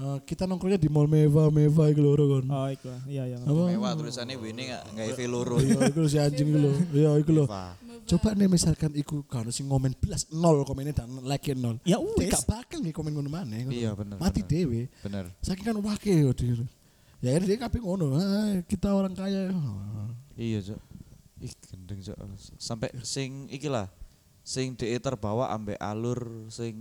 B: eh, kita nongkrongnya di mall Meva Meva iku lho Ro, kon.
C: Oh iku. Iya iya.
B: Apa?
A: Mewah tulisannya Winnie nggak nggak Evi loro.
B: Iya, iku lho si anjing iku lho. Iya, iku lho.
A: Wah.
B: Coba nih misalkan iku kan sing ngomen belas nol komennya dan like nol.
C: Ya
B: Dia
C: wis.
B: gak bakal nih komen ngono maneh. ngono.
A: Iya, bener,
B: Mati
A: bener.
B: dewe.
A: Bener.
B: Saking kan wakil dia. Ya akhirnya dia kabeh ngono. Ah, kita orang kaya.
A: Iya, Cok. Ih, gendeng, Cok. Sampai sing iki lah. Sing DE terbawa ambek alur sing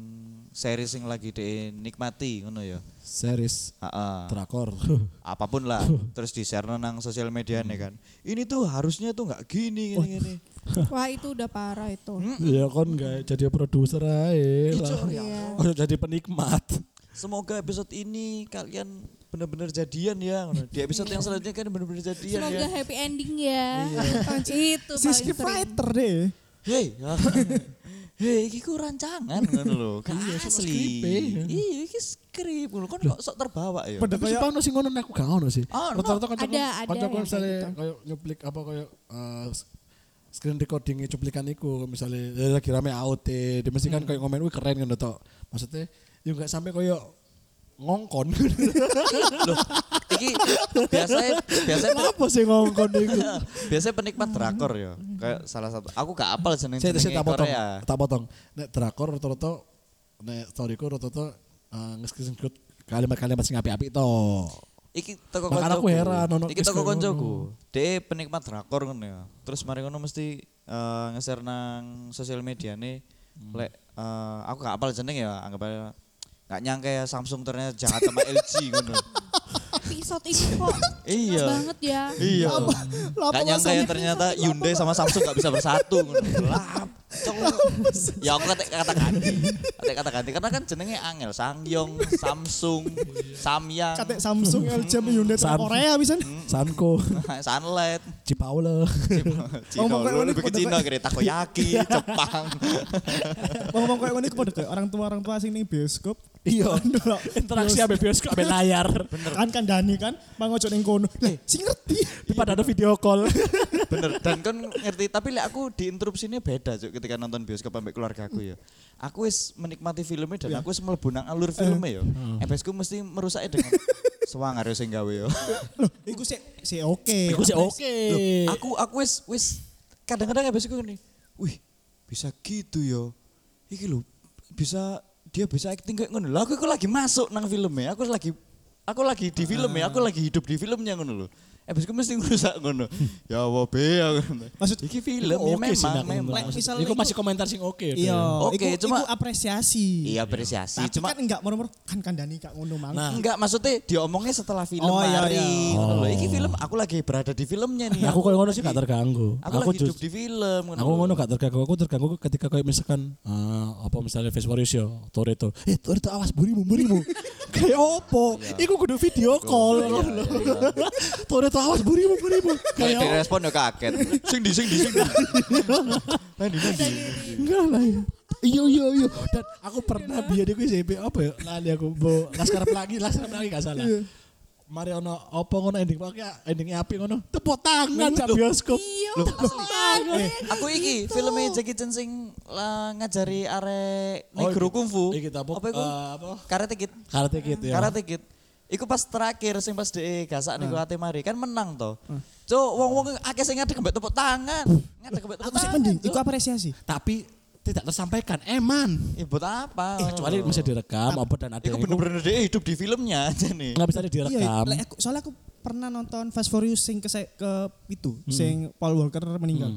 A: seri sing lagi DE nikmati ngono ya.
B: Series
A: Heeh.
B: drakor.
A: Ah. Apapun lah, terus di-share nang sosial media nih kan. Ini tuh harusnya tuh nggak gini gini gini.
D: Wah itu udah parah itu.
B: ya kon gak jadi produser ae.
A: Iya, Cok, ya
D: Iya.
B: Oh, jadi penikmat.
A: Semoga episode ini kalian benar-benar jadian ya. ngono. Di episode yang selanjutnya kan benar-benar jadian
D: Semoga
A: ya.
D: happy ending ya. itu
C: Siski
D: paling sering.
C: fighter deh.
A: Hei, hei, iki ku rancangan ngono lho. Gak asli.
B: skripe.
A: Iya, iki skrip ngono. Kon kok sok terbawa ya.
B: Tapi
C: Kaya-
B: sumpah ono sing ngono nek aku gak ono sih.
A: Oh, ono.
B: Rata-rata kan kanca
D: Ada, ada
B: kanca
D: yang
B: misalnya
D: kayak gitu.
B: kayak nyuplik apa kayak eh, s- screen recording cuplikan iku misalnya eh, lagi rame AOT, dia mesti
A: Hmm.
B: kan kayak komen wih keren ngono tok. Maksudnya yo gak sampai kayak ngongkon.
A: Iki biasanya biasanya pe-
B: apa sih ngongkon iku?
A: biasanya penikmat drakor ya. Kayak salah satu. Aku gak apal jeneng
B: Saya saya
A: jenenge
B: tak potong,
A: Korea.
B: tak potong. Nek drakor rata-rata nek storyku rata-rata eh, nge-screen record kalimat-kalimat sing apik-apik tok.
A: Iki teko
B: Makanya aku
A: koncoku.
B: heran, ono
A: Iki
B: kes
A: teko
B: kayak
A: koncoku. Dia penikmat drakor ngono ya. Terus mari ngono mesti eh, nge-share nang sosial mediane
B: Hmm.
A: lek eh, aku gak apal jeneng ya, anggap aja gak nyangka ya Samsung ternyata jahat sama LG ngono.
D: Episode ini kok
A: Iya.
D: banget ya.
A: Iya.
C: Lah,
A: Gak
C: apa
A: nyangka ya
C: masalahnya?
A: ternyata Hyundai sama Samsung gak bisa bersatu. ngono. Lah, cong. Ya aku kata kata ganti. Kata kata ganti karena kan jenenge angel Sangyong, Samsung, Samyang,
C: Katek Samsung
D: Hmm.
C: LG sama Hyundai sama
B: Samsung. Hmm.
C: Korea bisa nih.
A: Hmm.
B: Sanko,
A: Sunlight,
B: Cipaule.
A: Cina,
C: Ngomong kayak
A: lu
C: ngene,
A: lebih ke
C: kok
A: Cina kira takoyaki,
C: Iya.
A: Jepang.
C: Ngomong kayak ngene kepada kayak orang tua-orang tua sing ning bioskop.
B: Iya.
C: Ndelok.
B: Interaksi ambek bioskop ambek layar. Eh.
C: Kan kan Dani kan mang ojo ning kono. Lah sing ngerti.
B: Pada ada video call.
A: Bener. Dan kan ngerti, tapi lek aku diinterupsinya beda Cuk, ketika nonton bioskop ambek keluarga aku ya. Aku wis menikmati filmnya
C: Iya.
A: dan aku wis mlebu nang alur filmnya ya.
C: Hmm.
A: Ebes ku mesti merusaknya dengan Suang harus sing gawe ya. yo.
C: Loh, iku sik sik oke.
B: Iku sih oke.
A: Iya, Loh, aku aku wis wis kadang-kadang habis itu gini, wih bisa gitu yo. Iki lho bisa dia bisa acting kayak ngono. Lah aku iku lagi masuk nang filmnya, aku lagi aku lagi di film ya, aku lagi hidup di filmnya ngono lho. Habis itu mesti ngerusak ngono. ya Allah be aku ngono.
C: Maksud
A: iki film ya
B: Oke sih
A: memang
B: nak.
A: memang.
C: Lek misalnya
B: Iku
C: iku-
B: masih komentar sing oke.
C: Iya,
A: Oke,
C: iku-
A: cuma-
C: iku apresiasi.
A: Iya apresiasi,
C: Tapi
A: cuma
C: kan enggak merumur kan kandani kak ngono mang.
B: Nah.
A: enggak maksudnya diomongnya setelah film
C: Oh, iya,
A: mari,
C: iya.
A: ngono lho.
B: Oh.
A: Iki film aku lagi berada di filmnya nih.
B: Nah, Aku kalau ngono sih gak terganggu.
A: Aku,
B: Aku
A: lagi hidup
B: just
A: di film ngono
B: Aku
A: lho.
B: ngono gak terganggu, aku terganggu ketika kayak misalkan eh, apa misalnya Face Mauricio, Toretto. Eh Toretto awas burimu, burimu. kayak opo? Iku kudu video call. Toretto awas burimu, burimu.
A: Kayak
B: Kayak
A: direspon ya kaget. Sing di sing di sing di. Nang di nang di.
B: Enggak lah ya. Iya iya iya. Dan aku pernah biar aku SMP apa ya? Lali aku bo laskar pelangi, laskar pelangi gak salah. Mari ono apa ngono ending pokoknya endingnya api ngono. Tepuk tangan sak bioskop.
D: Iya.
A: Loh,
D: Pak. Ada yang
A: Aku iki
D: gitu.
A: filmnya Jackie Chan sing lah, ngajari arek negro
B: iki-
A: kungfu.
B: iki apa?
A: Apa iku?
B: Eh, apa?
A: Karate Kid.
B: Karate Kid ya.
A: Karate Kid. Iku pas terakhir sing pas dhek gasak niku ate mari kan menang to. Cuk, wong-wong akeh sing ngadeg mbek tepuk tangan. Ngadeg mbek tepuk
C: Aku sih
A: tangan.
C: mending
A: Cuk.
C: iku apresiasi.
B: Tapi tidak tersampaikan. Eh, Eman.
A: Ya buat apa?
B: Eh, Kecuali bisa direkam apa dan ada
A: Iku
B: yang
A: bener-bener dhek hidup di filmnya aja nih.
B: nggak bisa
C: Iya,
B: direkam.
C: lek aku, soalnya aku pernah nonton Fast Furious sing ke, ke itu,
B: Mm-hmm.
C: sing Paul Walker meninggal.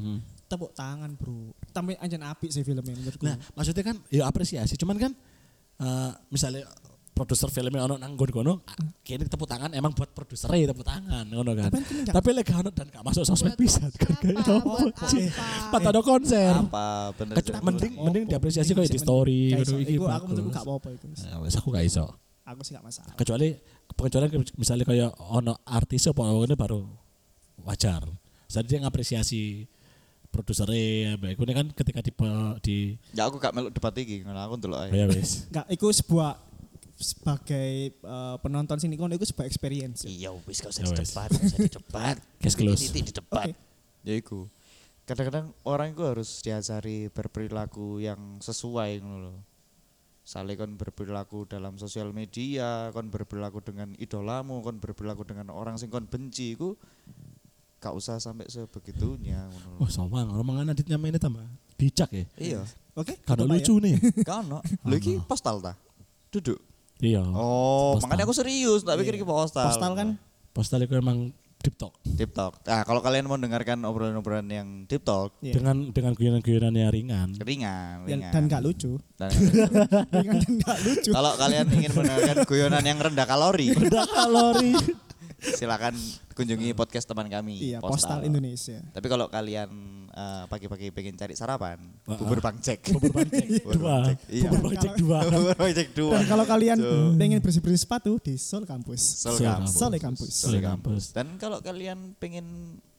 C: Tepuk tangan, Bro. Tapi anjen apik sih filmnya menurutku.
B: Nah, maksudnya kan ya apresiasi, cuman kan eh, misalnya produser filmnya ono nang nggon kono, kene tepuk tangan emang buat produser ya tepuk tangan ngono kan.
C: Tapi kan enggak-
B: Tapi lek ono dan gak masuk sosmed pisan kan kayak
D: Apa,
B: apa.
D: buat
B: Cik.
D: apa?
B: Pas ada konser.
A: Apa bener
B: Kecuali-
A: Cuk.
B: mending mending diapresiasi
C: Mending
B: kayak di
C: sih, mending.
B: story
C: Gak
B: ngono
C: Iya, iso.
B: iki.
C: Iku aku
B: bagus. Nah.
C: menurtku gak apa-apa iku.
B: Eh, wes aku gak iso.
C: Aku sih gak masalah.
B: Kecuali kecuali misalnya kayak ono artis apa ngono baru wajar. Jadi dia ngapresiasi produsernya, baik ini kan ketika di di
A: Ya aku gak melok debat iki, ngono aku ndelok ae.
B: ya wes.
C: Enggak, iku sebuah sebagai eh, penonton sini kono iku sebuah experience.
E: Iya wis gak usah
B: Ya wis.
E: didebat, gak usah didebat.
B: Case close.
E: Titik didebat.
C: Oke.
A: ya iku kadang-kadang orang itu harus diajari berperilaku yang sesuai ngono lho. Sale kon berperilaku dalam sosial media, kon berperilaku dengan idolamu, kon berperilaku dengan orang sing kon benci iku gak usah sampai sebegitunya ngono lho.
B: Wah, Oh, sama orang mangan aditnya mainnya tambah dicak ya.
A: Iya,
C: Oke.
B: Kada
C: tutup, Pak,
B: lucu nih.
A: kan ono. Lho iki postal ta? Duduk. Iya.
B: Iya.
A: Oh,
B: postal.
A: makanya aku serius, tak pikir iki
C: ya.
A: postal.
C: Postal kan
B: Postal itu emang deep talk
A: TikTok. Nah, kalau kalian mau dengarkan obrolan-obrolan yang TikTok,
C: Iya.
B: dengan dengan guyonan-guyonan yang ringan.
A: Iya. ringan,
C: dan,
A: ringan.
C: dan gak lucu.
A: Dan-
C: Ringan dan gak lucu.
A: kalau kalian ingin mendengarkan guyonan yang rendah kalori,
B: Rendah kalori.
A: silakan kunjungi podcast teman kami.
C: Iya, postal Indonesia.
A: Tapi kalau kalian eh, pagi-pagi pengen cari sarapan,
B: Wah,
A: bubur bangcek.
B: Bubur pancek
A: Bubur
B: dua.
A: pancek, iya.
B: Bubur pancek dua.
A: Bubur bangcek dua.
C: Dan kalau kalian
A: Tuh.
C: pengen bersih-bersih sepatu di Seoul Kampus.
A: Sol
B: Sol
A: kampus.
C: Seoul Kampus.
A: Sol
B: Sol Iya, kampus.
A: kampus. Dan kalau kalian pengen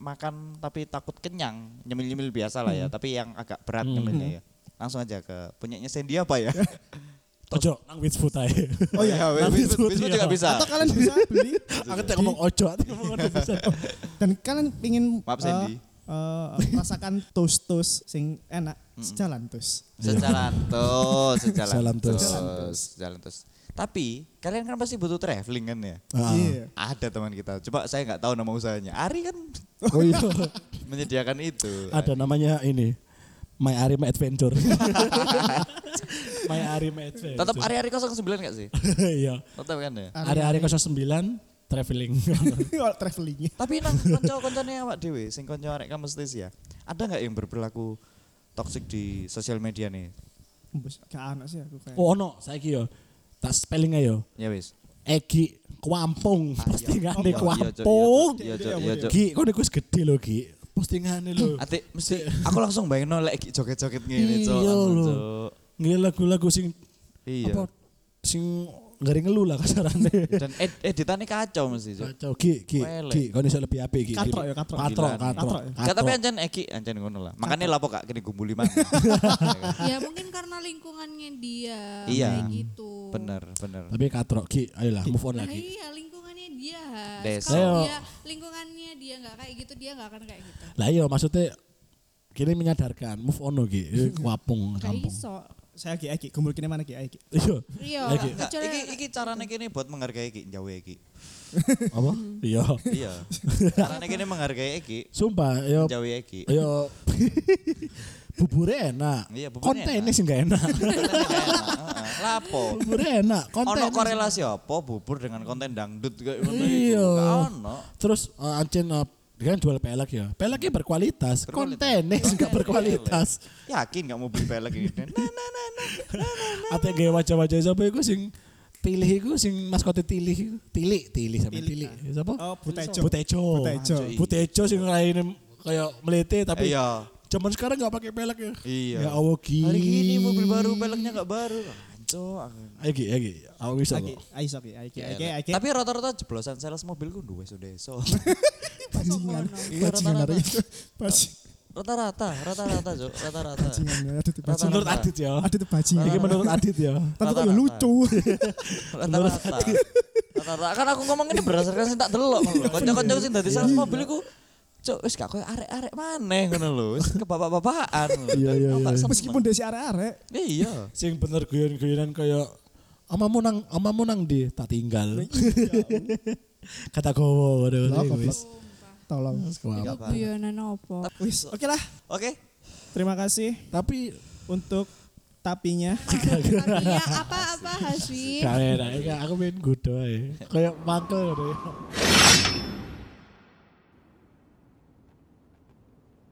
A: makan tapi takut kenyang, nyemil-nyemil biasa lah ya, tapi yang agak berat nyemilnya ya. Langsung aja ke punyanya Sandy apa ya?
B: Ojo nang wits food ae.
A: Oh iya,
B: Nanti
A: Wisma
B: sebut
A: juga
B: dia.
A: bisa.
C: Atau kalian bisa beli
B: Aku tak ngomong ojo aku ngomong ojo bisa.
C: dan kalian pengen
A: Maaf,
C: eh,
A: Sandy.
C: eh, rasakan toast-toast sing enak sejalan toast.
A: Sejalan terus, sejalan
B: Iya. Sejalan terus.
A: terus, sejalan terus. Tapi kalian kan pasti butuh traveling kan ya?
B: Ah.
C: Iya.
A: Ada teman kita. Coba saya nggak tahu nama usahanya. Ari kan
B: Oh iya.
A: menyediakan itu.
B: Ada namanya ini. My Ari My Adventure. My Ari My Adventure.
A: Tetap Ari Ari 09 nggak sih?
B: Iya.
A: Tetap kan ya.
B: Ari Ari 09 traveling.
C: Kalau traveling.
A: Tapi nang konco-koncone awak dhewe sing konco arek kamestis ya. Ada nggak yang berperilaku toksik di sosial media nih?
C: Embus, Gak anak sih aku kayak.
B: oh ono saiki yo. Tak spelling ae yo.
A: Ya wis.
B: Egi Kuampung. Postingane
A: Iya, iya, Cuk,
B: Kuampung.
A: Iya, Cuk, iya, Cuk.
B: Ki, kau nih gede loh Ki. Postingane loh.
A: Ati mesti aku langsung bayangin lek iki joget-joget ngene, Cuk.
B: Iya,
A: langsung,
B: lho.
A: Cuk.
B: Nggih lagu-lagu sing
A: Iya.
B: apa sing garing ngeluh lah kasarane.
A: Dan ed editannya kacau mesti, Cuk.
B: Kacau ki ki
A: Welek.
B: ki kau iso lebih apik ki.
C: Katrok ya, katrok.
B: Katrok
A: Gila.
B: katrok.
C: Katrok ya.
A: Gak tapi ancen Eki ancen ngono lah. Makanya lapo kak kini gumbuli mangan.
D: ya mungkin karena lingkungannya dia
A: Iya.
D: kayak gitu.
A: bener bener.
B: Tapi katrok ki ayolah move on
D: Nah
B: lagi.
D: iya lingkungannya dia. Has.
A: Desa.
B: Ayo.
D: Kalau dia lingkungannya dia nggak kayak gitu dia nggak akan kayak gitu.
B: Lah iya maksudnya kini menyadarkan move on lho ki wapung
D: Kayak
B: kampung.
D: Nah, iso.
C: Saya Ki Aki, kumpul kene mana Ki Aki?
B: Iya.
D: Iya.
B: Lagi.
A: Enggak,
D: kecuali-
A: Nah, iki iki carane kini buat menghargai Eki, jauh Eki.
B: Apa? Iya.
A: Iya. Carane kini menghargai Eki,
B: Sumpah iya, yo
A: jauh Eki.
B: yo bubure enak.
A: Iya, buburnya
B: Kontennya
A: enak.
B: sih enggak enak.
A: Heeh, Lapo.
B: Bubure enak,
A: Ono
B: kontennya
A: korelasi apa bubur dengan konten dangdut kayak ngono iku?
B: Iya.
A: Gak Ono.
B: Terus uh, Ancen uh, dia kan jual pelek ya. Peleknya berkualitas,
A: Berkualitas.
B: kontennya juga berkualitas.
A: Yakin gak mau beli pelek ini? Nah, nah, nah, nah.
B: Ate gaya wajah-wajah siapa iku sing Tilih iku sing maskote Tilih, Tilih, Tilih sama Tilih. Siapa?
C: Oh, Butejo.
B: Butejo.
C: Butejo.
B: Butejo sing raine kayak melete tapi
A: Iya.
B: zaman sekarang gak pakai pelek ya.
A: Iya.
B: Ya Allah ki.
A: Hari ini mobil baru peleknya gak baru. Anco.
B: Ayo ki, ayo ki. Aku bisa
C: Aki,
B: kok.
C: Aiso Ki, Aki,
A: Iya,
B: Eh,
C: Aki, Aki.
A: Tapi rata-rata jeblosan sales mobilku duwe so
C: bajingan,
A: Iya,
C: bajingan
A: rata-rata.
C: itu. Bajingan,
A: rata-rata rata-rata Cuk, rata-rata
C: ada tuh bajingan.
B: Menurut Adit ya.
C: Ada tuh bajingan.
B: Ini menurut Adit ya.
C: Tapi kok ya
A: Rata-rata.
C: lucu.
A: rata-rata rata-rata kan aku ngomong ini berdasarkan sing tak delok ngono lho.
B: Iya.
A: kanca-kanca sing dadi sales mobil iku cuk wis gak koyo arek-arek maneh ngono lho wis ke bapak-bapakan
B: Iya, iya, iya.
C: Meskipun desi arek-arek.
A: iya
B: Sing bener guyon-guyonan kayak Amamu nang, amamu nang di, tak tinggal. Kata gowo, waduh.
C: Lah, apa,
B: wis.
C: Bis? Tolong.
D: Iku guyonan apa?
C: Wis,
A: Iya.
C: oke lah.
A: oke
C: Terima kasih
B: Tapi
C: untuk tapinya.
D: Tapi ya apa-apa Hasbi.
B: Gak enak, ya. aku main gudo ae. Kayak mangkel gitu ya.